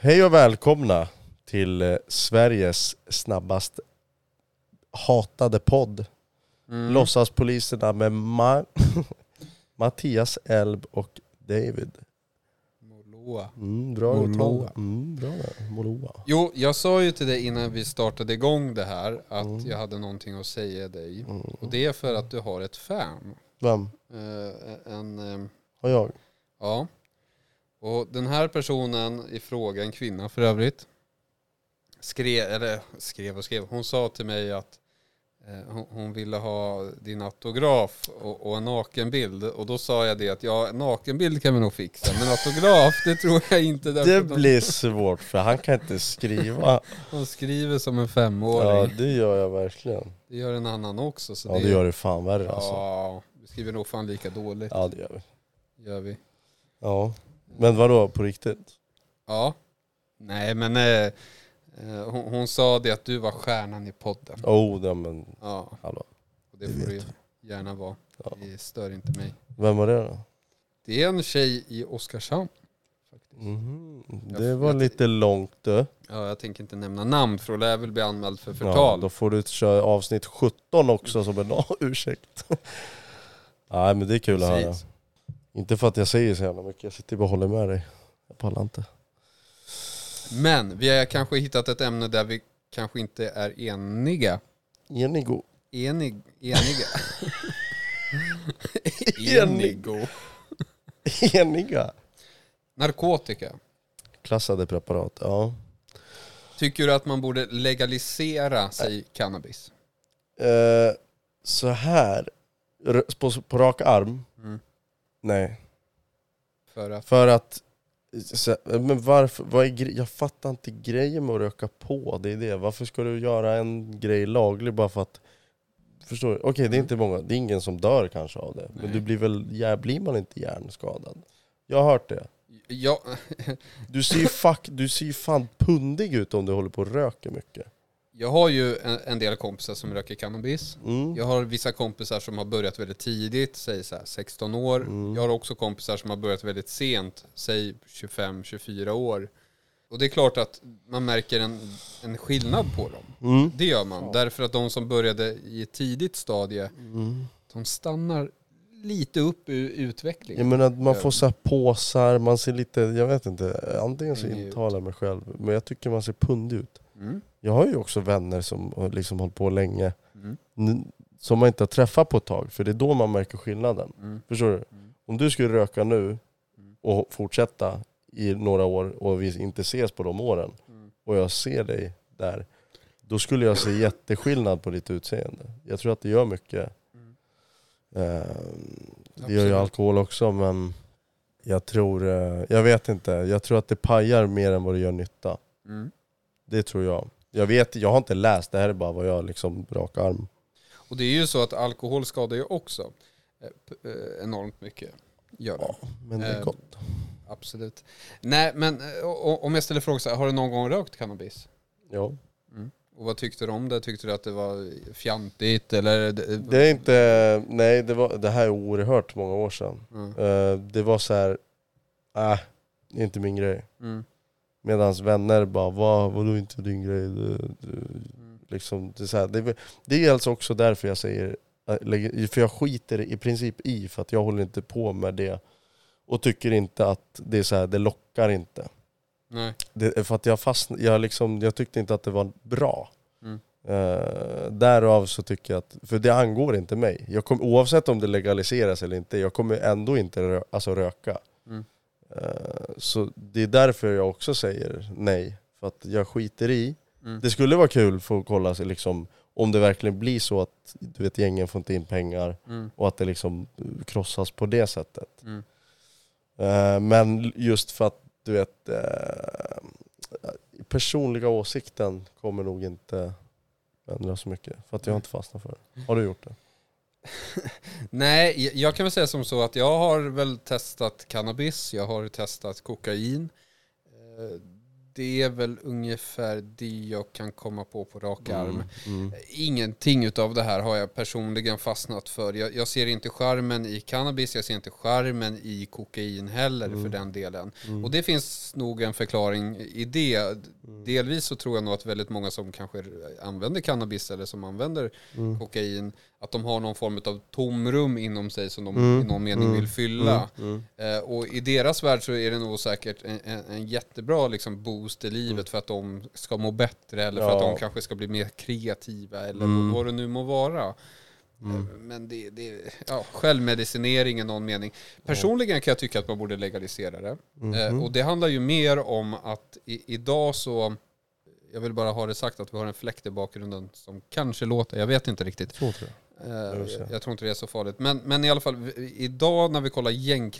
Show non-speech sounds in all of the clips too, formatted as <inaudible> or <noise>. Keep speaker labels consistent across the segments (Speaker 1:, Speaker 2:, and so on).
Speaker 1: Hej och välkomna till eh, Sveriges snabbast hatade podd.
Speaker 2: Mm.
Speaker 1: Låtsaspoliserna med Ma- <laughs> Mattias Elb och David.
Speaker 2: Moloa.
Speaker 1: Mm, bra
Speaker 2: Moloa.
Speaker 1: uttal. Mm, bra där. Moloa.
Speaker 2: Jo, jag sa ju till dig innan vi startade igång det här att
Speaker 1: Mm.
Speaker 2: jag hade någonting att säga dig. Och
Speaker 1: Mm.
Speaker 2: det är för att du har ett fan.
Speaker 1: Vem?
Speaker 2: Eh, en, eh,
Speaker 1: Har jag?
Speaker 2: ja. Och den här personen i fråga, en kvinna för övrigt, skrev, eller skrev och skrev, hon sa till mig att eh, hon, hon ville ha din autograf och, och en nakenbild. Och då sa jag det att ja, en nakenbild kan vi nog fixa, men autograf, det tror jag inte. därför
Speaker 1: Det
Speaker 2: att de-
Speaker 1: blir svårt för han kan inte
Speaker 2: <laughs>
Speaker 1: skriva.
Speaker 2: Hon skriver som en
Speaker 1: Ja,
Speaker 2: femåring.
Speaker 1: det gör jag verkligen.
Speaker 2: Det gör en annan också. Så
Speaker 1: Ja, det gör det fan värre alltså.
Speaker 2: Ja, vi skriver nog fan lika dåligt.
Speaker 1: Ja, det gör vi.
Speaker 2: Gör vi.
Speaker 1: Ja. Men vadå, på riktigt?
Speaker 2: Ja. Nej, men eh, eh, hon, hon sa det att du var stjärnan i podden.
Speaker 1: Oh, nej, men
Speaker 2: Ja,
Speaker 1: hallå.
Speaker 2: och det
Speaker 1: Det
Speaker 2: får
Speaker 1: vet
Speaker 2: du gärna vara.
Speaker 1: Ja.
Speaker 2: Det stör inte mig.
Speaker 1: Vem var det då?
Speaker 2: Det är en tjej i Oskarshamn. Faktiskt.
Speaker 1: Mhm, Det
Speaker 2: Jag-
Speaker 1: var
Speaker 2: jag-
Speaker 1: lite långt eh. du.
Speaker 2: Ja, jag tänker inte nämna namn för då lär jag väl bli anmäld för
Speaker 1: Ja,
Speaker 2: förtal.
Speaker 1: då får du köra avsnitt 17 också som en <laughs> ursäkt. Nej men det är kul att höra.
Speaker 2: Precis.
Speaker 1: Inte för att jag säger så jävla mycket, jag sitter bara och håller med dig. Jag pallar inte.
Speaker 2: Men vi har kanske hittat ett ämne där vi kanske inte är eniga.
Speaker 1: Enigo.
Speaker 2: Enig, eniga.
Speaker 1: <laughs> Enig. Eniga.
Speaker 2: Narkotika.
Speaker 1: Klassade preparat, ja.
Speaker 2: Tycker du att man borde legalisera sig cannabis?
Speaker 1: Eh, så här, R- på, på rak arm,
Speaker 2: Mm.
Speaker 1: nej.
Speaker 2: För att,
Speaker 1: För att, så, men varför, vad är gre- jag fattar inte grejen med att röka på, det är det. Varför ska du göra en grej laglig bara för att, förstår du? Okej det är inte många, det är ingen som dör kanske av det. Men
Speaker 2: Nej.
Speaker 1: du blir väl, ja, blir man inte hjärnskadad? Jag har hört det.
Speaker 2: ja,
Speaker 1: Du ser ju fuck, du ser ju fan pundig ut om du håller på och röker mycket.
Speaker 2: jag har ju en, en del kompisar som röker cannabis.
Speaker 1: Mm.
Speaker 2: Jag har vissa kompisar som har börjat väldigt tidigt, säg så här 16 år.
Speaker 1: Mm.
Speaker 2: Jag har också kompisar som har börjat väldigt sent, säg 25-24 år. Och det är klart att man märker en, en skillnad på dem.
Speaker 1: Mm.
Speaker 2: Det gör man. Därför att de som började i ett tidigt stadie,
Speaker 1: Mm.
Speaker 2: de stannar lite upp i utvecklingen.
Speaker 1: Jag menar att man får så här påsar, man ser lite, jag vet inte, antingen så
Speaker 2: Pundig ut.
Speaker 1: intalar jag mig själv, men jag tycker man ser pundig ut.
Speaker 2: Mm.
Speaker 1: Jag har ju också vänner som har liksom hållit på länge,
Speaker 2: Mm.
Speaker 1: n- som man inte har träffat på ett tag, för det är då man märker skillnaden.
Speaker 2: Mm.
Speaker 1: Förstår du?
Speaker 2: Mm.
Speaker 1: Om du skulle röka nu
Speaker 2: Mm.
Speaker 1: och fortsätta i några år och vi inte ses på de åren,
Speaker 2: Mm.
Speaker 1: och jag ser dig där, då skulle jag se jätteskillnad på ditt utseende. Jag tror att det gör mycket.
Speaker 2: Mm.
Speaker 1: Eh, det gör ju
Speaker 2: Absolut.
Speaker 1: alkohol också, men jag tror, eh, jag vet inte, jag tror att det pajar mer än vad det gör nytta.
Speaker 2: Mm.
Speaker 1: Det tror jag. Jag vet, jag har inte läst, det här är bara vad jag liksom rak arm.
Speaker 2: Och det är ju så att alkohol skadar ju också eh, p- eh, enormt mycket. Gör det,
Speaker 1: Men det är
Speaker 2: Eh,
Speaker 1: gott.
Speaker 2: absolut. Nej, men eh, o- o- om jag ställer frågan så här, har du någon gång rökt cannabis? Mm.
Speaker 1: Ja.
Speaker 2: Och vad tyckte du om det? Tyckte du att det var fjantigt eller? eh,
Speaker 1: Det är inte, nej det, var, det här är oerhört många år sedan.
Speaker 2: Mm.
Speaker 1: Eh, det var så här, äh, det är inte min grej.
Speaker 2: Mm.
Speaker 1: Medans vänner bara, Va, vadå inte din grej? Du, du,
Speaker 2: Mm.
Speaker 1: liksom, det, är så här, det, är väl- det är alltså också därför jag säger, äh, lägger- för jag skiter i princip i, för att jag håller inte på med det. Och tycker inte att det är så här, det lockar inte.
Speaker 2: Nej.
Speaker 1: Det, är för att jag, fastn, jag, liksom, jag tyckte inte att det var bra.
Speaker 2: Mm.
Speaker 1: Eh, därav så tycker jag att, för det angår inte mig. Jag kom, oavsett om det legaliseras eller inte, jag kommer ändå inte rö, alltså röka.
Speaker 2: Mm.
Speaker 1: Eh, så det är därför jag också säger nej. För att jag skiter i.
Speaker 2: Mm.
Speaker 1: Det skulle vara kul för att kolla sig liksom, om det verkligen blir så att du vet, gängen får inte in pengar
Speaker 2: Mm.
Speaker 1: och att det liksom eh, krossas på det sättet.
Speaker 2: Mm.
Speaker 1: Eh, Men just för att du vet, eh, personliga åsikten kommer nog inte ändra så mycket. För att jag har inte fastnat för det. Har du gjort det?
Speaker 2: Nej, jag- jag kan väl säga som så att jag har väl testat cannabis, jag har testat kokain. Eh, det är väl ungefär det jag kan komma på på rak arm.
Speaker 1: Mm, mm.
Speaker 2: Ingenting utav det här har jag personligen fastnat för. Jag, jag ser inte skärmen i cannabis, jag ser inte skärmen i kokain heller för den delen.
Speaker 1: Mm.
Speaker 2: Och det finns nog en förklaring i det. Delvis så tror jag nog att väldigt många som kanske använder cannabis eller som använder kokain, att de har någon form av tomrum inom sig som de i någon mening vill fylla.
Speaker 1: Mm.
Speaker 2: Eh, och i deras värld så är det nog säkert en, en, en jättebra liksom, boost i livet för att de ska må bättre eller för att
Speaker 1: Ja.
Speaker 2: de kanske ska bli mer kreativa eller vad det nu må vara. Eh, Men det, det ja, självmedicinering i någon mening. Personligen kan jag tycka att man borde legalisera det.
Speaker 1: Mhm.
Speaker 2: Eh,
Speaker 1: Mm.
Speaker 2: och det handlar ju mer om att i, idag så, jag vill bara ha det sagt att vi har en fläkt i bakgrunden som kanske låter, jag vet inte riktigt.
Speaker 1: Så tror jag.
Speaker 2: Eh,
Speaker 1: just det.
Speaker 2: jag, jag tror inte det är så farligt. Men, men i alla fall, vi- idag när vi kollar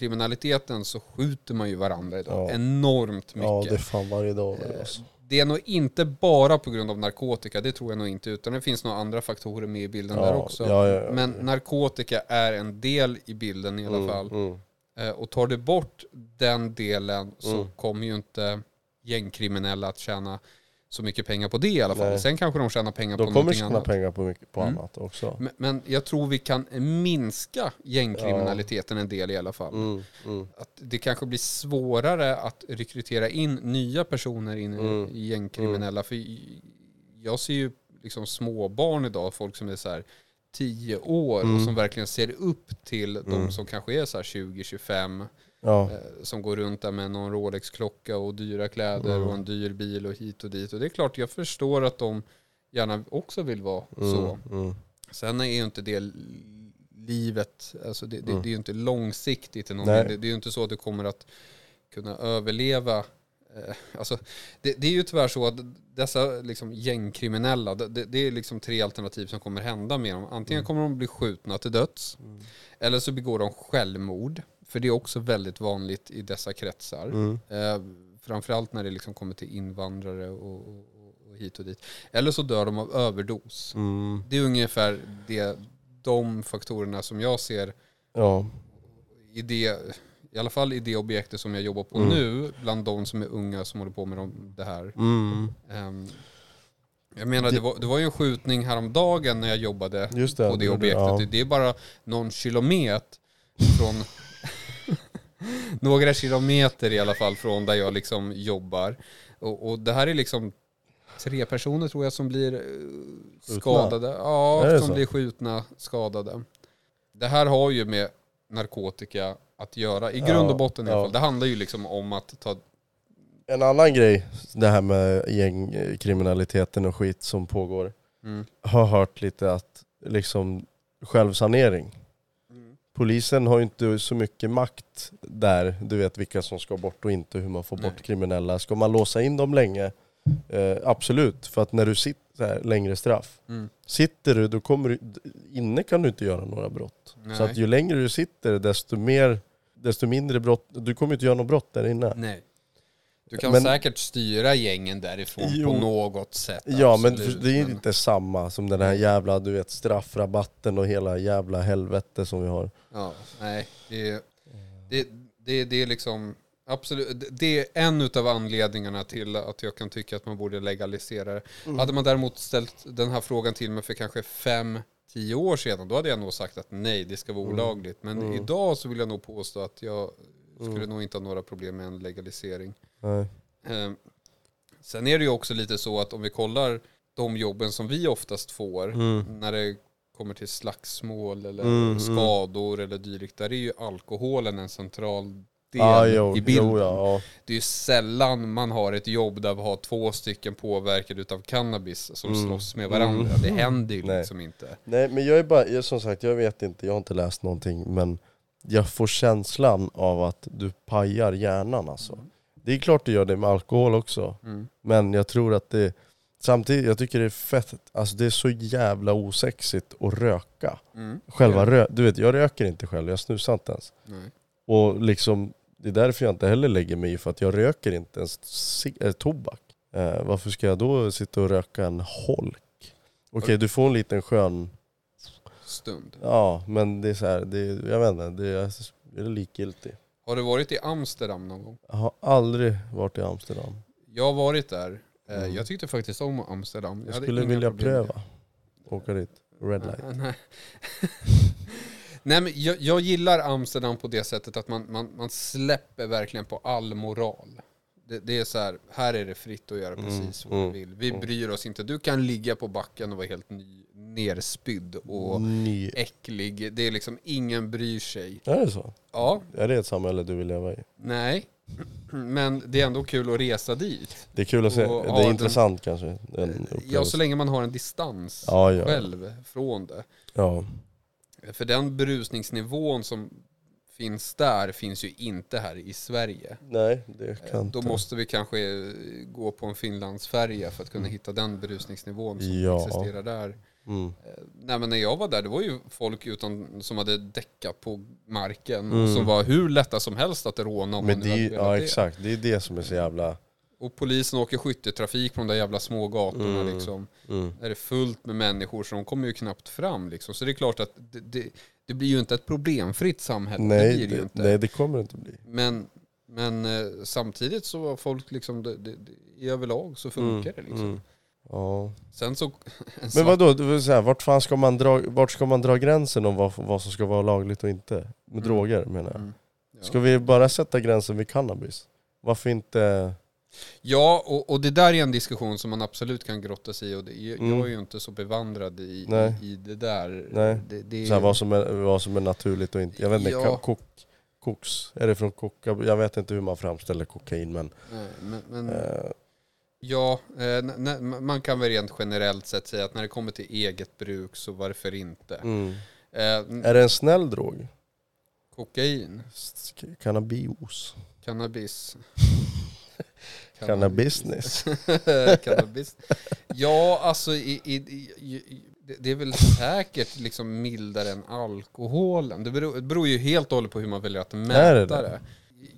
Speaker 2: gängkriminaliteten så skjuter man ju varandra idag.
Speaker 1: Ja.
Speaker 2: Enormt mycket.
Speaker 1: Ja, det är
Speaker 2: det...
Speaker 1: fan varje dag
Speaker 2: Eh,
Speaker 1: väl alltså.
Speaker 2: är nog inte bara på grund av narkotika, det tror jag nog inte, utan det finns några andra faktorer med i bilden där
Speaker 1: Ja,
Speaker 2: också.
Speaker 1: ja, ja, ja.
Speaker 2: Men narkotika är en del i bilden i alla fall.
Speaker 1: Mm.
Speaker 2: Eh, Och tar du bort den delen så
Speaker 1: Mm.
Speaker 2: kommer ju inte gängkriminella att tjäna så mycket pengar på det i alla fall.
Speaker 1: Nej.
Speaker 2: Sen kanske de tjänar pengar
Speaker 1: De
Speaker 2: på
Speaker 1: kommer
Speaker 2: någonting
Speaker 1: tjäna
Speaker 2: annat.
Speaker 1: pengar på, mycket, på
Speaker 2: Mm.
Speaker 1: annat också.
Speaker 2: Men, men jag tror vi kan minska gängkriminaliteten en del i alla fall.
Speaker 1: Mm, mm.
Speaker 2: Att det kanske blir svårare att rekrytera in nya personer in i-
Speaker 1: Mm.
Speaker 2: i gängkriminella. För i- jag ser ju liksom småbarn idag, folk som är så här 10 år och
Speaker 1: Mm.
Speaker 2: som verkligen ser upp till de
Speaker 1: Mm.
Speaker 2: som kanske är så här 20-25
Speaker 1: Ja.
Speaker 2: eh, som går runt där med någon Rolex-klocka och dyra kläder
Speaker 1: Mm.
Speaker 2: och en dyr bil och hit och dit. Och det är klart, jag förstår att de gärna också vill vara
Speaker 1: Mm,
Speaker 2: så.
Speaker 1: Mm.
Speaker 2: Sen är ju inte det li- livet, alltså det, det,
Speaker 1: Mm.
Speaker 2: det är ju inte långsiktigt. i Någon
Speaker 1: Nej.
Speaker 2: mening. det, det är ju inte så att du kommer att kunna överleva. eh, Alltså, det, det är ju tyvärr så att dessa liksom gängkriminella, det- det, det är liksom tre alternativ som kommer hända med dem. Antingen
Speaker 1: Mm.
Speaker 2: kommer de bli skjutna till döds, eller så begår de självmord. För det är också väldigt vanligt i dessa kretsar.
Speaker 1: Mm.
Speaker 2: Eh, framförallt när det liksom kommer till invandrare och, och, och hit och dit. Eller så dör de av överdos.
Speaker 1: Mm.
Speaker 2: Det är ungefär det, de faktorerna som jag ser
Speaker 1: Ja.
Speaker 2: i det, i alla fall i det objektet som jag jobbar på
Speaker 1: Mm.
Speaker 2: nu, bland de som är unga som håller på med de, det här.
Speaker 1: Mm.
Speaker 2: Ehm, jag menar, det var, det var ju en skjutning häromdagen när jag jobbade
Speaker 1: Just det.
Speaker 2: på det
Speaker 1: gjorde-
Speaker 2: objektet.
Speaker 1: Ja.
Speaker 2: Det är bara någon kilometer från... <laughs> några kilometer i alla fall från där jag liksom jobbar. Och, och det här är liksom tre personer tror jag som blir eh, skadade.
Speaker 1: Är
Speaker 2: Ja,
Speaker 1: det
Speaker 2: som
Speaker 1: så?
Speaker 2: blir skjutna, skadade. Det här har ju med narkotika att göra, i grund
Speaker 1: Ja,
Speaker 2: och botten i alla
Speaker 1: ja.
Speaker 2: fall. Det handlar ju liksom om att ta...
Speaker 1: En annan grej, det här med gängkriminaliteten och skit som pågår.
Speaker 2: Mm.
Speaker 1: Har hört lite att liksom självsanering. Mm. Polisen har ju inte så mycket makt där, du vet vilka som ska bort och inte, hur man får
Speaker 2: Nej.
Speaker 1: bort kriminella. Ska man låsa in dem länge? Eh, absolut, för att när du sitter så här, längre straff,
Speaker 2: Mm.
Speaker 1: Sitter du, då kommer du, inne kan du inte göra några brott.
Speaker 2: Nej.
Speaker 1: Så att ju längre du sitter, desto, mer, desto mindre brott. Du kommer inte göra något brott där inne.
Speaker 2: Nej. Du kan
Speaker 1: Men-
Speaker 2: säkert styra gängen därifrån
Speaker 1: Jo.
Speaker 2: på något sätt.
Speaker 1: Ja, men
Speaker 2: absolut,
Speaker 1: för- det är ju
Speaker 2: men-
Speaker 1: inte samma som den här jävla du vet, straffrabatten och hela jävla helvete som vi har.
Speaker 2: Ja, nej. Det, det, det, det är liksom... Absolut, det är en av anledningarna till att jag kan tycka att man borde legalisera det.
Speaker 1: Mm.
Speaker 2: Hade man däremot ställt den här frågan till mig för kanske fem, tio år sedan, då hade jag nog sagt att nej, det ska vara
Speaker 1: Mm.
Speaker 2: olagligt. Men idag så vill jag nog påstå att jag
Speaker 1: Mm.
Speaker 2: skulle nog inte ha några problem med en legalisering.
Speaker 1: Nej.
Speaker 2: Eh, Sen är det ju också lite så att om vi kollar de jobben som vi oftast får
Speaker 1: Mm.
Speaker 2: när det kommer till slagsmål eller skador eller dylikt, där är ju alkoholen en central del
Speaker 1: Ah, jo,
Speaker 2: i bilden.
Speaker 1: Jo, ja,
Speaker 2: Det är ju sällan man har ett jobb där vi har två stycken påverkade utav cannabis som slåss med varandra. Det händer ju
Speaker 1: Mm. Nej.
Speaker 2: liksom inte.
Speaker 1: Nej men jag är bara, jag, som sagt jag vet inte, jag har inte läst någonting men jag får känslan av att du pajar hjärnan alltså. Det är klart du gör det med alkohol också.
Speaker 2: Mm.
Speaker 1: Men jag tror att det, samtidigt, jag tycker det är fett, alltså det är så jävla osexigt att röka.
Speaker 2: Mm.
Speaker 1: Själva rö du vet jag röker inte själv, jag snusar inte ens.
Speaker 2: Nej.
Speaker 1: Och liksom, det är därför jag inte heller lägger mig i, för att jag röker inte ens cig- eh, tobak. Eh, varför ska jag då sitta och röka en holk? Okej, du får en liten skön
Speaker 2: Stund.
Speaker 1: Ja, men det är så här, det är, jag vet inte, det är, jag är likgiltig.
Speaker 2: Har du varit i Amsterdam någon gång?
Speaker 1: Jag har aldrig varit i Amsterdam.
Speaker 2: Jag har varit där. Eh,
Speaker 1: Mm.
Speaker 2: Jag tyckte faktiskt om Amsterdam.
Speaker 1: Jag
Speaker 2: hade
Speaker 1: skulle
Speaker 2: inga
Speaker 1: vilja
Speaker 2: problem med det.
Speaker 1: pröva. Åka dit. Red light.
Speaker 2: Nej, <laughs> nej. Nej, men jag, jag gillar Amsterdam på det sättet att man, man, man släpper verkligen på all moral. Det, det är så här, här är det fritt att göra
Speaker 1: Mm,
Speaker 2: precis vad
Speaker 1: mm,
Speaker 2: du vill. Vi bryr oss inte. Du kan ligga på backen och vara helt ny, nerspydd
Speaker 1: Mm.
Speaker 2: och
Speaker 1: Ni-
Speaker 2: äcklig. Det är liksom, ingen bryr sig.
Speaker 1: Är det så?
Speaker 2: Ja,
Speaker 1: Är det ett samhälle du vill leva i?
Speaker 2: nej. <clears throat> Men det är ändå kul att resa dit.
Speaker 1: Det är kul att se.
Speaker 2: Och,
Speaker 1: det
Speaker 2: ja,
Speaker 1: är
Speaker 2: den-
Speaker 1: intressant kanske. Den
Speaker 2: Ja, så
Speaker 1: upplevelsen.
Speaker 2: länge man har en distans
Speaker 1: ja, ja.
Speaker 2: själv från det.
Speaker 1: ja.
Speaker 2: För den berusningsnivån som finns där finns ju inte här i Sverige.
Speaker 1: Nej, det
Speaker 2: Eh,
Speaker 1: kan
Speaker 2: Då
Speaker 1: inte-
Speaker 2: måste vi kanske eh, gå på en Finlandsfärja för att kunna hitta den berusningsnivån som
Speaker 1: Mm. Ja.
Speaker 2: existerar där.
Speaker 1: Mm.
Speaker 2: Eh, Nej men när jag var där, det var ju folk utan, som hade däckat på marken
Speaker 1: Mm.
Speaker 2: och som var hur lätta som helst att råna om
Speaker 1: Men
Speaker 2: man
Speaker 1: det,
Speaker 2: nu
Speaker 1: är
Speaker 2: hade
Speaker 1: ju-
Speaker 2: velat
Speaker 1: ja
Speaker 2: det.
Speaker 1: exakt, det är det som är så jävla...
Speaker 2: Och polisen åker skytteltrafik på de där jävla små gatorna
Speaker 1: Mm.
Speaker 2: liksom.
Speaker 1: Mm.
Speaker 2: Där det är fullt med människor så de kommer ju knappt fram liksom. Så det är klart att det, det, det blir ju inte ett problemfritt samhälle. det
Speaker 1: Nej,
Speaker 2: blir det ju
Speaker 1: det,
Speaker 2: inte.
Speaker 1: nej, det kommer det inte bli.
Speaker 2: Men, men eh, samtidigt så var folk liksom, det, det, det, i överlag så funkar det liksom.
Speaker 1: Mm. Ja.
Speaker 2: Sen så... en
Speaker 1: Men
Speaker 2: svart-
Speaker 1: vadå, det vill säga, vart fan ska man dra, vart ska man dra gränsen om vad, vad som ska vara lagligt och inte? Med
Speaker 2: Mm.
Speaker 1: droger menar jag.
Speaker 2: Mm. Ja.
Speaker 1: Ska vi bara sätta gränsen vid cannabis? Varför inte...
Speaker 2: Ja, och, och det där är en diskussion som man absolut kan grotta sig i. Och det, jag,
Speaker 1: Mm.
Speaker 2: jag är ju inte så bevandrad i,
Speaker 1: Nej.
Speaker 2: i, i det där.
Speaker 1: Nej.
Speaker 2: Det, det är-
Speaker 1: Så här, vad, som är, vad som är naturligt och inte. Jag vet inte,
Speaker 2: Ja.
Speaker 1: ka- kok, koks, är det från koka? Jag vet inte hur man framställer kokain men...
Speaker 2: Nej, men, men,
Speaker 1: eh,
Speaker 2: Ja, eh, n- n- man kan väl rent generellt sett säga att när det kommer till eget bruk så varför inte?
Speaker 1: mm.
Speaker 2: Eh, n-
Speaker 1: Är det en snäll drog?
Speaker 2: kokain,
Speaker 1: S- Cannabios?
Speaker 2: cannabis.
Speaker 1: Cannabisness?
Speaker 2: <laughs> Cannabis. Ja, alltså i, i, i, i, det- det är väl säkert liksom mildare än alkoholen. Det beror, det beror ju helt och hållet på hur man väljer att
Speaker 1: Är det
Speaker 2: mäta
Speaker 1: det?
Speaker 2: det.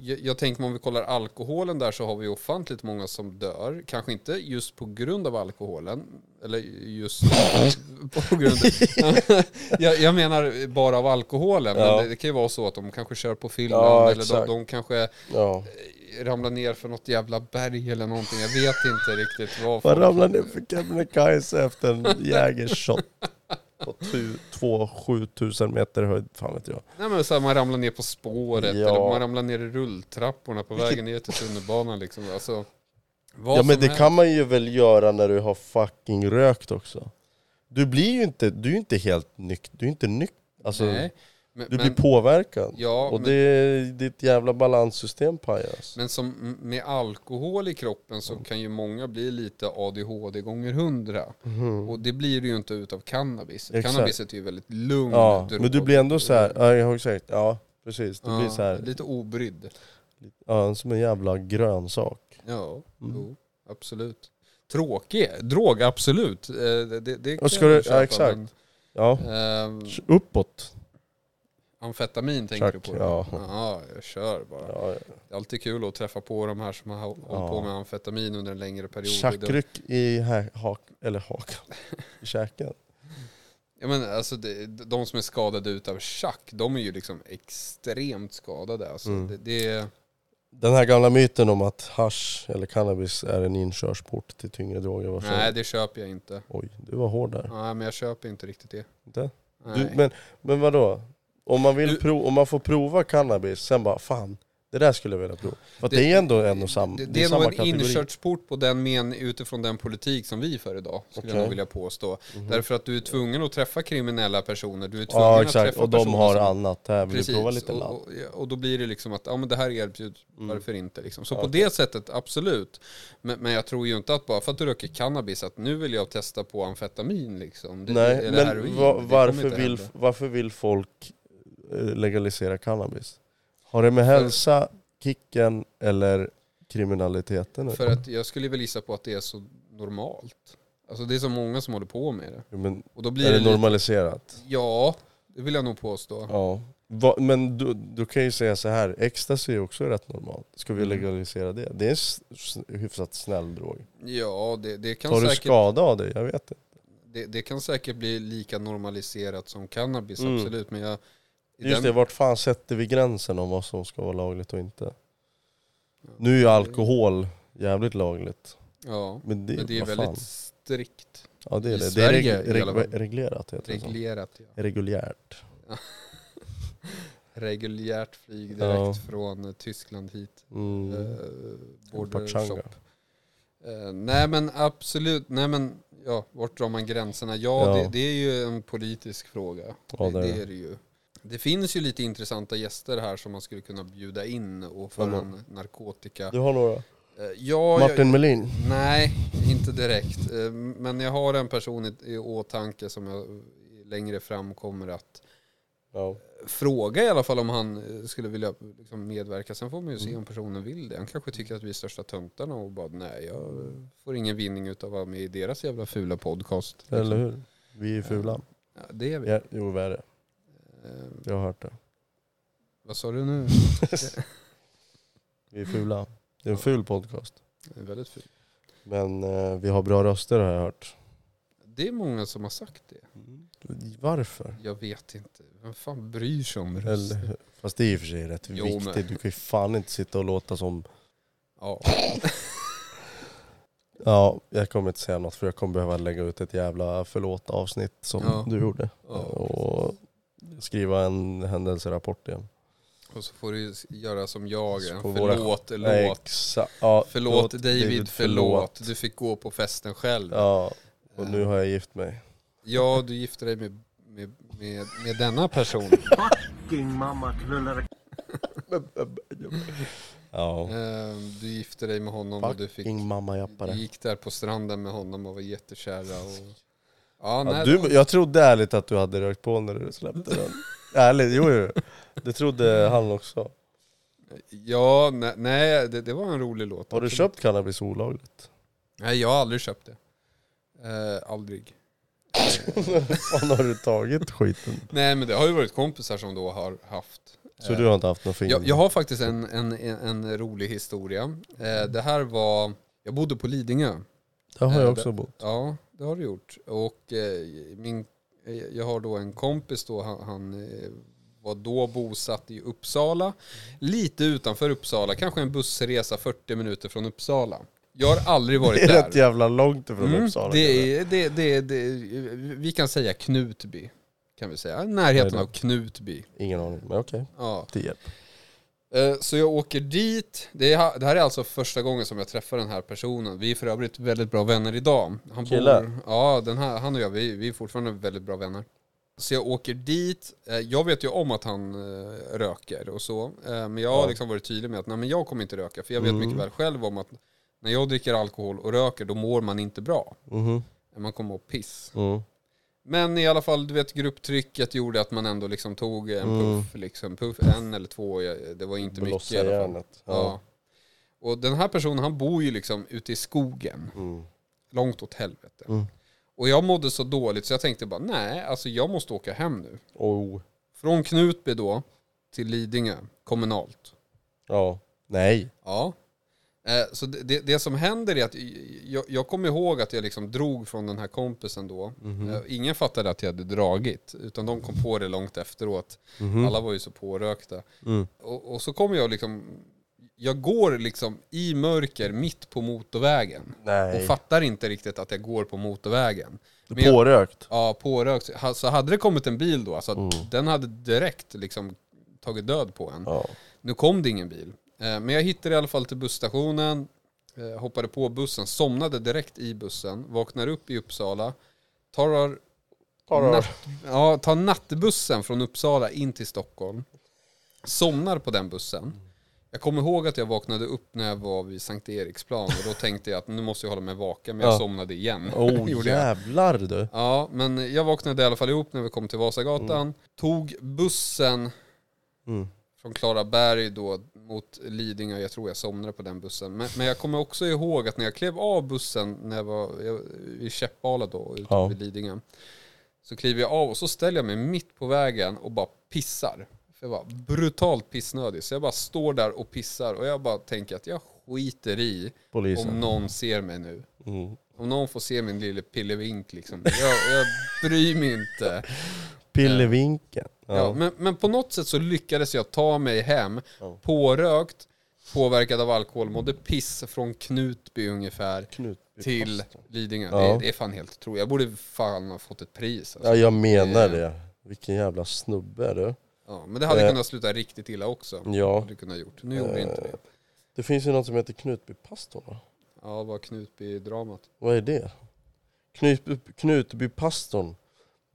Speaker 2: Jag, jag tänker om vi kollar alkoholen där så har vi ofantligt många som dör. Kanske inte just på grund av alkoholen. Eller just
Speaker 1: <laughs>
Speaker 2: på grund av... jag, jag menar bara av alkoholen.
Speaker 1: Ja.
Speaker 2: Men det, det kan ju vara så att de kanske kör på fyllan.
Speaker 1: Ja,
Speaker 2: eller de,
Speaker 1: exakt.
Speaker 2: de kanske
Speaker 1: Ja.
Speaker 2: eh, ramla ner för något jävla berg eller någonting. Jag vet inte riktigt vad.
Speaker 1: Vad
Speaker 2: folk-
Speaker 1: ramlar ner för Kebnekaise efter en jägershot på tu- två 7000 meter höjd? Fan vet jag.
Speaker 2: Nej, men så här, man ramlar ner på spåret
Speaker 1: Ja.
Speaker 2: eller man ramlar ner i rulltrapporna på vägen ner till tunnelbanan. Liksom. Alltså, vad
Speaker 1: Ja men
Speaker 2: som
Speaker 1: det
Speaker 2: helst.
Speaker 1: kan man ju väl göra när du har fucking rökt också. Du blir ju inte, du är ju inte helt nykter, du är inte nykter. Alltså,
Speaker 2: Nej, men,
Speaker 1: du
Speaker 2: men,
Speaker 1: blir påverkad.
Speaker 2: ja,
Speaker 1: och
Speaker 2: men,
Speaker 1: det, ditt jävla balanssystem pajas.
Speaker 2: men som med alkohol i kroppen så kan ju många bli lite ADHD gånger 100.
Speaker 1: Mhm.
Speaker 2: Mm. Och det blir det ju inte utav cannabis.
Speaker 1: Exakt.
Speaker 2: Cannabiset är ju väldigt lugn
Speaker 1: Ja,
Speaker 2: drog.
Speaker 1: men du blir ändå så här, ja, jag har sagt, ja precis, du
Speaker 2: Ja,
Speaker 1: blir så här,
Speaker 2: Lite obrydd.
Speaker 1: ja, som en jävla grönsak.
Speaker 2: Ja,
Speaker 1: Mm.
Speaker 2: jo, absolut. Tråkig drog, absolut. Eh, Det, det, det kan
Speaker 1: ska
Speaker 2: jag
Speaker 1: du-
Speaker 2: köpa,
Speaker 1: ja, exakt.
Speaker 2: men,
Speaker 1: Ja,
Speaker 2: ehm,
Speaker 1: uppåt.
Speaker 2: amfetamin tänker
Speaker 1: Tack,
Speaker 2: du på?
Speaker 1: ja.
Speaker 2: ja, jag kör bara.
Speaker 1: Ja,
Speaker 2: Det är alltid kul att träffa på de här som har hållit
Speaker 1: Ja.
Speaker 2: på med amfetamin under en längre period. Det-
Speaker 1: Tjackryck i hä- hak, eller hakan, i käken.
Speaker 2: Ja, men alltså det, de som är skadade utav tjack, de är ju liksom extremt skadade. Alltså
Speaker 1: Mm.
Speaker 2: det, det är,
Speaker 1: Den här gamla myten om att hasch eller cannabis är en inkörsport till tyngre droger. Varför?
Speaker 2: nej, det köper jag inte.
Speaker 1: Oj, du var hård där.
Speaker 2: Nej, men jag köper inte riktigt det.
Speaker 1: Inte?
Speaker 2: Nej.
Speaker 1: Du, men, men vadå? Om man, vill
Speaker 2: Du-
Speaker 1: prov, om man får prova cannabis, sen bara fan, det där skulle jag vilja prova. För att det,
Speaker 2: Det-
Speaker 1: är ändå en och samma
Speaker 2: Det,
Speaker 1: är
Speaker 2: det, är nog
Speaker 1: samma
Speaker 2: en
Speaker 1: kategori.
Speaker 2: inkörsport på den men utifrån den politik som vi för idag, skulle
Speaker 1: Okej. Mhm.
Speaker 2: jag nog vilja påstå. Därför att du är tvungen att träffa kriminella personer, du är tvungen
Speaker 1: Ja
Speaker 2: att
Speaker 1: exakt,
Speaker 2: träffa
Speaker 1: och de
Speaker 2: personer
Speaker 1: har
Speaker 2: som-
Speaker 1: annat. Här vill
Speaker 2: Precis,
Speaker 1: du prova lite ladd?
Speaker 2: och, och, och då blir det liksom att ja, men det här erbjuds, varför inte? Liksom. Så på
Speaker 1: Mm. Okej.
Speaker 2: det sättet, absolut. Men, men jag tror ju inte att bara för att du röker cannabis, att nu vill jag testa på amfetamin. Liksom. Det,
Speaker 1: Nej,
Speaker 2: eller heroin.
Speaker 1: men va,
Speaker 2: Det kommer
Speaker 1: varför,
Speaker 2: inte
Speaker 1: vill,
Speaker 2: hända.
Speaker 1: varför vill folk eh, legalisera cannabis? Har det med hälsa, kicken eller kriminaliteten att
Speaker 2: För
Speaker 1: göra?
Speaker 2: att jag skulle väl gissa på att det är så normalt. Alltså det är så många som håller på med det.
Speaker 1: Jo, Men
Speaker 2: Och då blir
Speaker 1: är det
Speaker 2: lite-
Speaker 1: normaliserat?
Speaker 2: Ja, det vill jag nog påstå.
Speaker 1: Ja. Va, men du, du kan ju säga så här, ecstasy är också rätt normalt. Ska vi
Speaker 2: Mm.
Speaker 1: legalisera det? Det är en s- s- hyfsat snäll drog.
Speaker 2: Ja, det, det, kan
Speaker 1: Tar du
Speaker 2: säkert,
Speaker 1: skada av det? Jag vet inte.
Speaker 2: det, det kan säkert bli lika normaliserat som cannabis,
Speaker 1: Mm.
Speaker 2: absolut. Men jag, i
Speaker 1: Just
Speaker 2: den-
Speaker 1: det, vart fan sätter vi gränsen om vad som ska vara lagligt och inte? Nu är ju alkohol jävligt lagligt.
Speaker 2: Ja,
Speaker 1: Men det,
Speaker 2: men det är
Speaker 1: vad
Speaker 2: väldigt
Speaker 1: fan.
Speaker 2: strikt
Speaker 1: Ja det är
Speaker 2: i
Speaker 1: det. Det är reg,
Speaker 2: Sverige i alla
Speaker 1: reg,
Speaker 2: fall.
Speaker 1: reglerat heter det så.
Speaker 2: reglerat. Ja.
Speaker 1: Reguljärt.
Speaker 2: Reguljärt flyg direkt
Speaker 1: Ja.
Speaker 2: från eh, Tyskland hit.
Speaker 1: Mm.
Speaker 2: Eh, border
Speaker 1: Pachanga.
Speaker 2: shop. Eh, nej men absolut, nej men ja, vart drar man gränserna? Ja,
Speaker 1: Ja.
Speaker 2: Det, det är ju en politisk fråga.
Speaker 1: Ja,
Speaker 2: det,
Speaker 1: det är
Speaker 2: det är det ju. Det finns ju lite intressanta gäster här som man skulle kunna bjuda in och föra
Speaker 1: Vadå?
Speaker 2: en narkotika...
Speaker 1: Du har några?
Speaker 2: Eh, ja, jag-
Speaker 1: Martin Melin?
Speaker 2: Nej, inte direkt. Eh, Men jag har en person i- i åtanke som jag längre fram kommer att
Speaker 1: Ja.
Speaker 2: fråga i alla fall om han eh, skulle vilja liksom medverka. Sen får man ju
Speaker 1: Mm.
Speaker 2: se om personen vill det. Han kanske tycker att vi är största töntarna och bara nej, jag får ingen vinning utav att vara med i deras jävla fula podcast. liksom.
Speaker 1: Eller hur? Vi är fula.
Speaker 2: Ja, det är vi.
Speaker 1: Ja, jo vi är det.
Speaker 2: Eh,
Speaker 1: Jag har hört det.
Speaker 2: Vad sa du nu?
Speaker 1: Vi är fula. Det är en ful podcast.
Speaker 2: Det är väldigt fult.
Speaker 1: Men eh, vi har bra röster har jag hört.
Speaker 2: Det är många som har sagt det.
Speaker 1: Varför?
Speaker 2: Jag vet inte. Vem fan bryr sig om
Speaker 1: Eller,
Speaker 2: röster?
Speaker 1: hur? fast det är i och för sig rätt
Speaker 2: Jo, men-
Speaker 1: viktigt. Du kan ju fan inte sitta och låta som...
Speaker 2: Ja.
Speaker 1: Ja, jag kommer inte säga något för jag kommer behöva lägga ut ett jävla förlåt avsnitt som
Speaker 2: Ja.
Speaker 1: du gjorde.
Speaker 2: ja.
Speaker 1: och skriva en händelserapport igen.
Speaker 2: Och så får du ju göra som jag, en
Speaker 1: Så får våra-
Speaker 2: förlåt,
Speaker 1: Nej,
Speaker 2: låt.
Speaker 1: exa- ja,
Speaker 2: Förlåt David, förlåt. Du fick gå på festen själv. Ja,
Speaker 1: Ja, och nu har jag gift mig.
Speaker 2: du gifte dig med, med, med, med denna person.
Speaker 3: fucking mamma knullar
Speaker 1: Ja,
Speaker 2: Ehm, du gifte dig med honom och du, fick,
Speaker 1: fucking mamma
Speaker 2: du
Speaker 1: jappare.
Speaker 2: gick där på stranden med honom och var jättekära. Och... Ja, nej,
Speaker 1: Ja, du, jag trodde ärligt att du hade rökt på när du släppte
Speaker 2: <laughs>
Speaker 1: den. ärligt, jo jo. Det trodde han också.
Speaker 2: ja, nej, nej det, det var en rolig låt.
Speaker 1: Har du
Speaker 2: absolut.
Speaker 1: köpt cannabis olagligt? <laughs>
Speaker 2: Nej, jag har aldrig köpt det. Eh, aldrig.
Speaker 1: Fan har du tagit skiten?
Speaker 2: Nej, men det har ju varit kompisar som då har haft.
Speaker 1: Så
Speaker 2: eh,
Speaker 1: du har inte haft någon finger?
Speaker 2: Jag, jag har faktiskt en, en, en, en rolig historia. Eh, det här var, jag bodde på Lidingö.
Speaker 1: Där har jag
Speaker 2: eh,
Speaker 1: också
Speaker 2: det-
Speaker 1: bott.
Speaker 2: Ja, det har du gjort. Och eh, min, eh, jag har då en kompis då, han, han eh, var då bosatt i Uppsala. Lite utanför Uppsala, kanske en bussresa 40 minuter från Uppsala. Jag har aldrig varit
Speaker 1: Det är
Speaker 2: där.
Speaker 1: rätt jävla långt ifrån
Speaker 2: Mm,
Speaker 1: Uppsala.
Speaker 2: det är, det, det, det, vi kan säga Knutby, kan vi säga. Närheten
Speaker 1: Nej,
Speaker 2: av Knutby.
Speaker 1: Ingen aning, men okej.
Speaker 2: Ja.
Speaker 1: Tierp.
Speaker 2: Eh, Så jag åker dit. Det, är, det här är alltså första gången som jag träffar den här personen. Vi är för övrigt väldigt bra vänner idag. Han
Speaker 1: Killar?
Speaker 2: Bor, ja, den här, han och jag, vi, vi är fortfarande väldigt bra vänner. Så jag åker dit. Eh, Jag vet ju om att han eh, röker och så. Eh, Men jag har
Speaker 1: Ja.
Speaker 2: liksom varit tydlig med att nej, men jag kommer inte röka. För jag vet
Speaker 1: Mm.
Speaker 2: mycket väl själv om att när jag dricker alkohol och röker, då mår man inte bra.
Speaker 1: Mhm.
Speaker 2: Man kommer att piss.
Speaker 1: Mm.
Speaker 2: Men i alla fall, du vet grupptrycket gjorde att man ändå liksom tog en
Speaker 1: Mm.
Speaker 2: puff, liksom, puff, en eller två, jag- det var inte
Speaker 1: Blossa
Speaker 2: mycket i alla fall.
Speaker 1: järnet.
Speaker 2: Ja. Och den här personen han bor ju liksom ute i skogen,
Speaker 1: Mm.
Speaker 2: långt åt helvete.
Speaker 1: Mm.
Speaker 2: Och jag mådde så dåligt så jag tänkte bara nej, alltså jag måste åka hem nu.
Speaker 1: Oh.
Speaker 2: Från Knutby då till Lidingö, kommunalt.
Speaker 1: Ja. Nej.
Speaker 2: Ja. Eh, Så det, det, det som händer är att i- jag, jag kommer ihåg att jag liksom drog från den här kompisen då.
Speaker 1: Mhm.
Speaker 2: Eh, Ingen fattade att jag hade dragit, utan de kom på det långt efteråt.
Speaker 1: Mhm.
Speaker 2: Alla var ju så pårökta.
Speaker 1: Mm.
Speaker 2: Och, och så kommer jag liksom, jag går liksom i mörker mitt på motorvägen.
Speaker 1: Nej.
Speaker 2: Och fattar inte riktigt att jag går på motorvägen. Men jag,
Speaker 1: Pårökt.
Speaker 2: ja, pårökt. Ha- Så hade det kommit en bil då, alltså
Speaker 1: Mm.
Speaker 2: att den hade direkt liksom tagit död på en.
Speaker 1: Ja.
Speaker 2: Nu kom det ingen bil. Eh, Men jag hittade i alla fall till busstationen, eh, hoppade på bussen, somnade direkt i bussen, vaknar upp i Uppsala, tar, natt, <laughs> ja, tar nattbussen från Uppsala in till Stockholm, somnar på den bussen. Jag kommer ihåg att jag vaknade upp när jag var vid Sankt Eriksplan och då tänkte jag att nu måste jag hålla mig vaken, men jag
Speaker 1: Ja.
Speaker 2: somnade igen.
Speaker 1: Oh
Speaker 2: <laughs> Gjorde jag.
Speaker 1: jävlar du.
Speaker 2: Ja, men jag vaknade i alla fall ihop när vi kom till Vasagatan. Tog bussen
Speaker 1: Mm.
Speaker 2: från Klaraberg då mot Lidingö. Jag tror jag somnade på den bussen. Men, men jag kommer också ihåg att när jag klev av bussen när jag var jag, i Käppala då, ute
Speaker 1: Ja.
Speaker 2: vid Lidingö. Så kliver jag av och så ställer jag mig mitt på vägen och bara pissar. För jag var brutalt pissnödig. Så jag bara står där och pissar och jag bara tänker att jag skiter i om
Speaker 1: Polisen.
Speaker 2: någon ser mig nu.
Speaker 1: Mm.
Speaker 2: Om någon får se min lille pillevink liksom. Jag, jag bryr mig inte.
Speaker 1: Pillevinken.
Speaker 2: Ja, men, men på något sätt så lyckades jag ta mig hem
Speaker 1: Ja.
Speaker 2: pårökt påverkad av alkohol, mådde piss från Knutby ungefär
Speaker 1: Knut.
Speaker 2: till Lidingö.
Speaker 1: Ja.
Speaker 2: Det, det är fan helt otroligt. Jag borde fan ha fått ett pris. Alltså.
Speaker 1: Ja, jag menar
Speaker 2: Det-
Speaker 1: det. Vilken jävla snubbe du.
Speaker 2: Ja, men det hade
Speaker 1: Eh.
Speaker 2: kunnat sluta riktigt illa också.
Speaker 1: Ja.
Speaker 2: Hade kunnat gjort. Nu gjorde
Speaker 1: Eh.
Speaker 2: inte det.
Speaker 1: Det finns ju något som heter Knutbypastorn va?
Speaker 2: Ja, vad Knutby-dramat.
Speaker 1: Vad är det? Knutby, Knutbypastorn.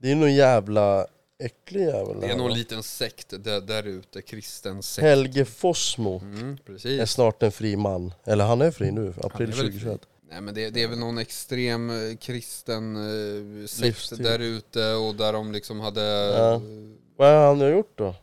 Speaker 1: Det är någon jävla äcklig jävel.
Speaker 2: Det är
Speaker 1: här,
Speaker 2: någon
Speaker 1: va?
Speaker 2: liten sekt där, där ute, kristen sekt.
Speaker 1: Helge Fossmo
Speaker 2: Mm,
Speaker 1: är
Speaker 2: precis.
Speaker 1: snart en fri man. Eller han är fri nu, april
Speaker 2: Han är väl
Speaker 1: 2021.
Speaker 2: Nej men det, det är väl någon extrem eh, kristen eh, sekt
Speaker 1: Livsstil.
Speaker 2: där ute och där de liksom hade...
Speaker 1: Ja. Vad har han gjort då?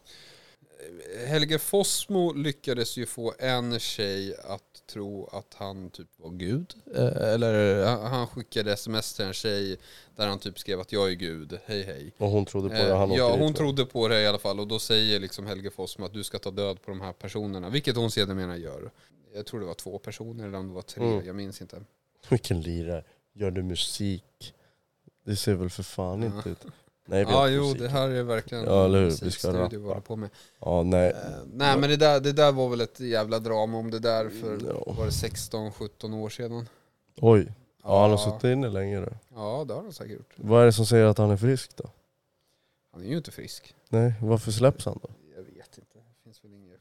Speaker 2: Helge Fossmo lyckades ju få en tjej att tro att han typ var gud. Eh, Eller han- han skickade sms till en tjej där han typ skrev att jag är gud, hej hej.
Speaker 1: Och hon trodde på
Speaker 2: Eh,
Speaker 1: det, han åkte
Speaker 2: ja,
Speaker 1: dit,
Speaker 2: hon
Speaker 1: va?
Speaker 2: trodde på det i alla fall och då säger liksom Helge Fossmo att du ska ta död på de här personerna, vilket hon sedermera gör. Jag tror det var två personer eller om det var tre,
Speaker 1: Mm.
Speaker 2: jag minns inte.
Speaker 1: Vilken lirare. Gör du musik? Det ser väl för fan
Speaker 2: Ja.
Speaker 1: inte ut. Nej, vi
Speaker 2: Ja,
Speaker 1: har
Speaker 2: jo,
Speaker 1: musik.
Speaker 2: det här är verkligen
Speaker 1: Ja, eller hur? Vi
Speaker 2: precis
Speaker 1: ska
Speaker 2: det
Speaker 1: rappa.
Speaker 2: du håller på med.
Speaker 1: Ja, nej.
Speaker 2: Eh, nej, men det där, det där var väl ett jävla drama om det där för
Speaker 1: Ja.
Speaker 2: var det 16-17 år sedan.
Speaker 1: Oj. Ja, han har suttit inne länge då.
Speaker 2: Ja, det har han säkert gjort.
Speaker 1: Vad är det som säger att han är frisk då?
Speaker 2: Han är ju inte frisk.
Speaker 1: Nej, varför släpps han då?
Speaker 2: Jag vet inte. Det finns väl inget.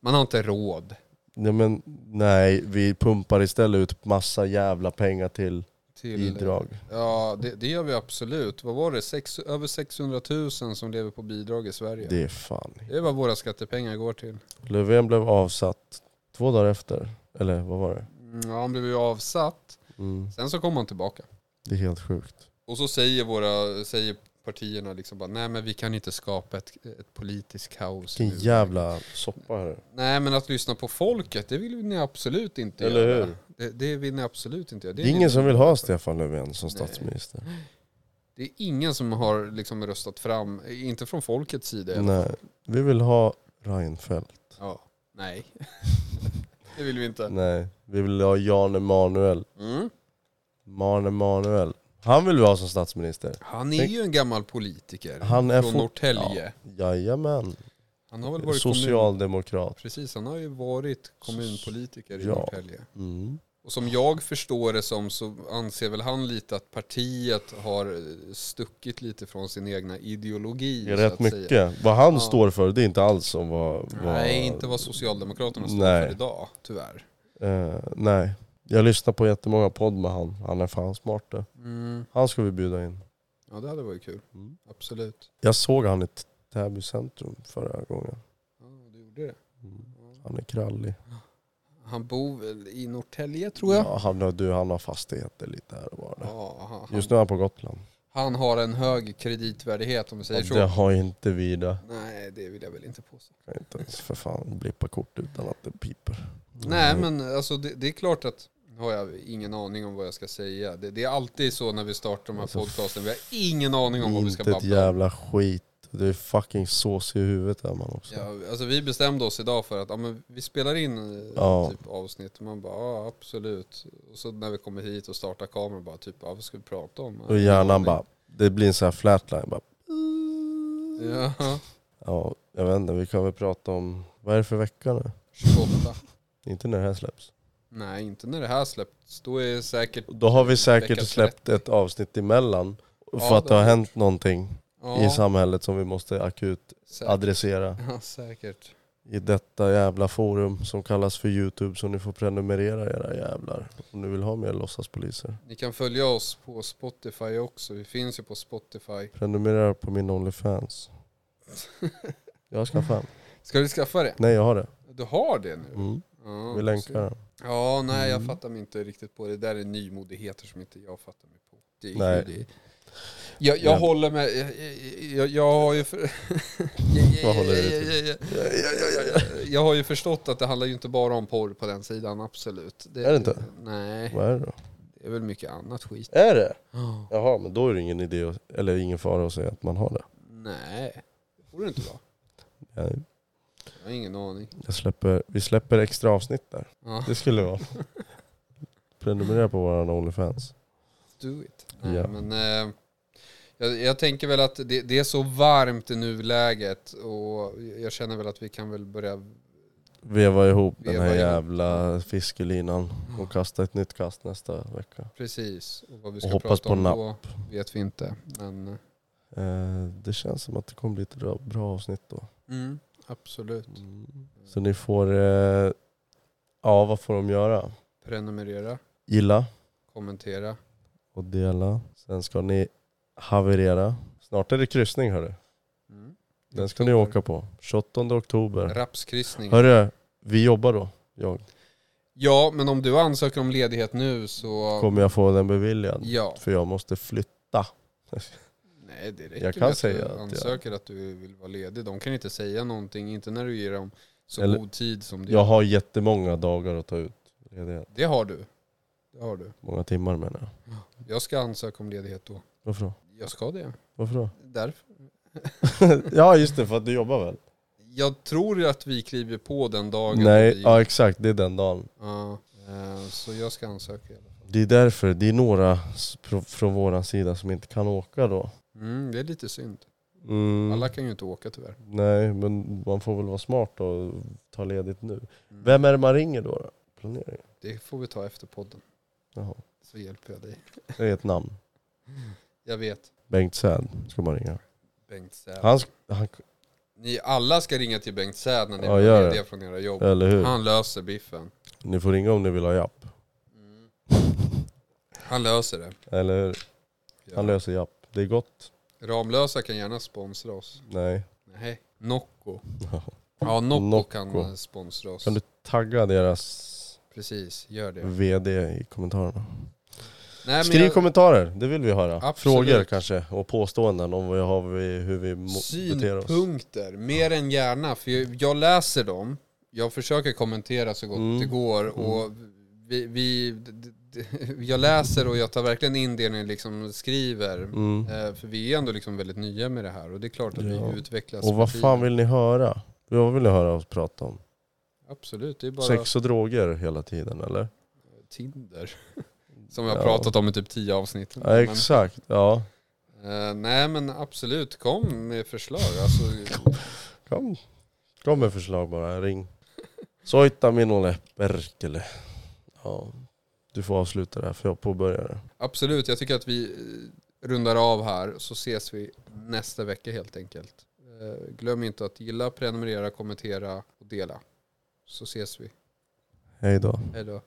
Speaker 2: Man har inte råd
Speaker 1: Nej, men, nej, vi pumpar istället ut massa jävla pengar till
Speaker 2: till...
Speaker 1: bidrag.
Speaker 2: Ja, det, det gör vi absolut. Vad var det? Sex, över 600 000 som lever på bidrag i Sverige. Det,
Speaker 1: Det är fan.
Speaker 2: är vad våra skattepengar går till.
Speaker 1: Löfven blev avsatt två dagar efter. Eller vad var det?
Speaker 2: Mm, Ja, han blev ju avsatt.
Speaker 1: Mm.
Speaker 2: Sen så kom han tillbaka.
Speaker 1: Det är helt sjukt.
Speaker 2: Och så säger, våra, säger partierna liksom bara, nej men vi kan inte skapa ett, ett politiskt kaos.
Speaker 1: Vilken
Speaker 2: nu."
Speaker 1: jävla soppa här.
Speaker 2: Nej men att lyssna på folket, det vill ni absolut inte
Speaker 1: Eller
Speaker 2: göra.
Speaker 1: hur?
Speaker 2: Det, det vill ni absolut inte göra.
Speaker 1: Det är ingen som vill ha Stefan Löfven som statsminister.
Speaker 2: Det är ingen som har liksom röstat fram, inte från folkets sida. i alla
Speaker 1: Nej, vi vill ha Reinfeldt.
Speaker 2: fall. Ja. Nej. <laughs> det vill vi inte.
Speaker 1: Nej, vi vill ha Jan Emanuel.
Speaker 2: Mm.
Speaker 1: Jan Emanuel. Han vill vi ha som statsminister.
Speaker 2: Han är ju en gammal politiker.
Speaker 1: Han är
Speaker 2: från
Speaker 1: fort-
Speaker 2: Norrtälje.
Speaker 1: Jajamän.
Speaker 2: Han har väl varit kommun...
Speaker 1: Socialdemokrat.
Speaker 2: Precis, han har ju varit kommunpolitiker i
Speaker 1: Ja.
Speaker 2: Norrtälje.
Speaker 1: Mm.
Speaker 2: Och som jag förstår det som så anser väl han lite att partiet har stuckit lite från sin egna ideologi.
Speaker 1: Det är
Speaker 2: så
Speaker 1: rätt
Speaker 2: att säga.
Speaker 1: mycket. Vad han
Speaker 2: Ja.
Speaker 1: står för, det är inte alls som vad... vad
Speaker 2: Nej, inte vad Socialdemokraterna står
Speaker 1: Nej.
Speaker 2: för idag, tyvärr.
Speaker 1: eh, nej. Jag lyssnar på jättemånga podd med han. Han är fan smart det. Han ska vi bjuda in.
Speaker 2: Mm. Ja, det hade varit kul.
Speaker 1: Mm.
Speaker 2: Absolut.
Speaker 1: Jag såg han i T- Täby centrum förra gången.
Speaker 2: Ja, du gjorde det.
Speaker 1: Mm. Han är krallig.
Speaker 2: Han bor väl i Norrtälje, tror jag.
Speaker 1: Ja, han, har- du, han har fastigheter lite här och var. där.
Speaker 2: Ja, han,
Speaker 1: Just nu är han på Gotland.
Speaker 2: han har en hög kreditvärdighet, om vi säger
Speaker 1: Ja, det
Speaker 2: så.
Speaker 1: har ju inte vi det.
Speaker 2: Nej, det vill jag väl inte påstå.
Speaker 1: Jag kan inte ens för fan blippa kort utan att det piper.
Speaker 2: Nej, men alltså, det, det är klart att nu har jag ingen aning om vad jag ska säga. Det, det är alltid så när vi startar de här
Speaker 1: Alltså,
Speaker 2: podcasten. Vi har ingen aning om vad vi ska
Speaker 1: Inte ett
Speaker 2: babbla om.
Speaker 1: jävla skit. Du är fucking sås i huvudet är man också.
Speaker 2: Ja, alltså vi bestämde oss idag för att ja, men vi spelar in eh,
Speaker 1: Ja.
Speaker 2: typ avsnitt och man bara ja absolut. Och så när vi kommer hit och startar kameran bara typ ja, vad ska vi prata om?
Speaker 1: Och hjärnan bara, det blir en sån här flatline bara.
Speaker 2: Ja,
Speaker 1: Ja, jag vet inte, vi kan väl prata om, vad är det för vecka nu?
Speaker 2: 28.
Speaker 1: Inte när det här släpps.
Speaker 2: Nej inte när det här släppts. Då är det säkert
Speaker 1: Då har vi
Speaker 2: Vecka
Speaker 1: säkert släppt ett avsnitt emellan. För
Speaker 2: Ja,
Speaker 1: att det har
Speaker 2: det-
Speaker 1: hänt någonting
Speaker 2: ja,
Speaker 1: i samhället som vi måste akut
Speaker 2: säkert.
Speaker 1: adressera.
Speaker 2: Ja, säkert.
Speaker 1: I detta jävla forum som kallas för Youtube så ni får prenumerera era jävlar. Om ni vill ha mer låtsaspoliser.
Speaker 2: Ni kan följa oss på Spotify också. Vi finns ju på Spotify.
Speaker 1: Prenumerera på min Onlyfans. Jag har skaffat en.
Speaker 2: <laughs> Ska du skaffa det?
Speaker 1: Nej jag har det.
Speaker 2: Du har det nu?
Speaker 1: Mm.
Speaker 2: Ja,
Speaker 1: Vi länkar den.
Speaker 2: Ja, nej jag
Speaker 1: Mm.
Speaker 2: fattar mig inte riktigt på det. Det där är nymodigheter som inte jag fattar mig på. Det är
Speaker 1: Nej.
Speaker 2: Det. Jag, jag
Speaker 1: Men-
Speaker 2: håller med, jag, jag- jag, jag har ju... För...
Speaker 1: <laughs> Vad håller du till?
Speaker 2: Jag- jag- jag- jag- Jag har ju förstått att det handlar ju inte bara om porr på den sidan, absolut.
Speaker 1: Är det inte?
Speaker 2: Nej,
Speaker 1: Vad är det då?
Speaker 2: det är väl mycket annat skit.
Speaker 1: <gasps> Är det? Jaha, men då är det ingen idé, att- eller ingen fara att säga att man har det.
Speaker 2: Nej, borde det inte vara.
Speaker 1: Nej,
Speaker 2: Jag har ingen aning.
Speaker 1: Jag släpper, vi släpper extra avsnitt där.
Speaker 2: Ja,
Speaker 1: Det skulle vara. Prenumerera på våran Onlyfans.
Speaker 2: do it. Nej,
Speaker 1: Ja.
Speaker 2: men, eh, jag, jag tänker väl att det, det är så varmt i nuläget och jag känner väl att vi kan väl börja
Speaker 1: veva ihop den
Speaker 2: Veva
Speaker 1: här
Speaker 2: ihop. Mm.
Speaker 1: jävla fiskelinan och kasta ett nytt kast nästa vecka.
Speaker 2: Precis. Och vad vi ska
Speaker 1: hoppas
Speaker 2: prata
Speaker 1: på
Speaker 2: om
Speaker 1: napp.
Speaker 2: då vet vi inte. Men eh,
Speaker 1: Eh, det känns som att det kommer bli ett bra, bra avsnitt då.
Speaker 2: mm, absolut. Mm.
Speaker 1: Så ni får, eh, ja vad får de göra?
Speaker 2: Prenumerera,
Speaker 1: Gilla
Speaker 2: kommentera.
Speaker 1: och dela. Sen ska ni haverera. Snart är det kryssning hörru.
Speaker 2: Mm.
Speaker 1: Den ska ni åka på. 28 oktober.
Speaker 2: Rapskryssning.
Speaker 1: Hörru, vi jobbar då. Jag.
Speaker 2: Ja, men om du ansöker om ledighet nu så...
Speaker 1: Kommer jag få den beviljad?
Speaker 2: Ja.
Speaker 1: För jag måste flytta.
Speaker 2: Nej, det räcker
Speaker 1: Jag kan
Speaker 2: med att
Speaker 1: säga
Speaker 2: du
Speaker 1: att jag-
Speaker 2: ansöker att du vill vara ledig. De kan inte säga någonting, inte när du ger dem så
Speaker 1: Eller-
Speaker 2: god tid som du
Speaker 1: Jag har jättemånga dagar att ta ut. Ledighet.
Speaker 2: Det har du. Det har du.
Speaker 1: Många timmar menar jag.
Speaker 2: Jag ska ansöka om ledighet då.
Speaker 1: Varför då?
Speaker 2: Jag ska det.
Speaker 1: Varför då? <laughs>
Speaker 2: Därför.
Speaker 1: ja just det, för att du jobbar väl?
Speaker 2: Jag tror att vi kliver på den dagen.
Speaker 1: Nej,
Speaker 2: vi,
Speaker 1: ja exakt. Det är den dagen.
Speaker 2: Ja, eh, så jag ska ansöka. i alla fall.
Speaker 1: Det är därför, det är några s- pro- från våran sida som inte kan åka då.
Speaker 2: Mm, det är lite synd.
Speaker 1: Mm.
Speaker 2: Alla kan ju inte åka tyvärr.
Speaker 1: Nej, men man får väl vara smart och ta ledigt nu.
Speaker 2: Mm.
Speaker 1: Vem är det man ringer då? då? Planeringen?
Speaker 2: Det får vi ta efter podden.
Speaker 1: Jaha,
Speaker 2: Så hjälper jag dig.
Speaker 1: det är ett namn.
Speaker 2: Jag vet.
Speaker 1: Bengt Säd ska man ringa.
Speaker 2: Bengt Säd.
Speaker 1: Han, sk- han,
Speaker 2: Ni alla ska ringa till Bengt Säd när ni
Speaker 1: Ja,
Speaker 2: blir
Speaker 1: gör det.
Speaker 2: lediga från era jobb.
Speaker 1: eller hur?
Speaker 2: Han
Speaker 1: <laughs>
Speaker 2: löser biffen.
Speaker 1: Ni får ringa om ni vill ha japp.
Speaker 2: Mm. Han löser det.
Speaker 1: Eller hur? Han
Speaker 2: Ja.
Speaker 1: löser japp. Det är gott.
Speaker 2: Ramlösa kan gärna sponsra oss.
Speaker 1: Nej.
Speaker 2: Nej, Nocco. Ja, Nocco,
Speaker 1: Nocco.
Speaker 2: kan eh, sponsra oss.
Speaker 1: Kan du tagga deras
Speaker 2: Precis, gör det.
Speaker 1: VD i kommentarerna?
Speaker 2: Nej, men
Speaker 1: Skriv
Speaker 2: jag-
Speaker 1: kommentarer, det vill vi höra.
Speaker 2: Absolut.
Speaker 1: Frågor kanske, och påståenden om vad jag har vi, hur vi mo- beter oss.
Speaker 2: Synpunkter, mer än gärna. För jag, jag läser dem, jag försöker kommentera så gott
Speaker 1: Mm.
Speaker 2: det går. Och vi, vi, <laughs> d- d- d- jag läser och jag tar verkligen in det ni liksom skriver.
Speaker 1: Mm.
Speaker 2: Eh, För vi är ändå liksom väldigt nya med det här och det är klart att
Speaker 1: Ja.
Speaker 2: vi utvecklas.
Speaker 1: Och
Speaker 2: med
Speaker 1: vad
Speaker 2: tiden.
Speaker 1: fan vill ni höra? Vad vill ni höra oss prata om?
Speaker 2: Absolut, det är bara
Speaker 1: Sex och droger hela tiden eller?
Speaker 2: Tinder. <laughs> Som jag har
Speaker 1: Ja.
Speaker 2: pratat om i typ tio avsnitt.
Speaker 1: Ja, exakt, ja.
Speaker 2: men, eh, nej men absolut, kom med förslag. Alltså,
Speaker 1: Kom. Kom med förslag bara, ring. Soita minulle perkele. Ja. Du får avsluta det här för jag påbörjar det.
Speaker 2: absolut, jag tycker att vi eh, rundar av här så ses vi nästa vecka helt enkelt. Eh, glöm inte att gilla, prenumerera, kommentera och dela. Så ses vi.
Speaker 1: Hej då.
Speaker 2: Hej då.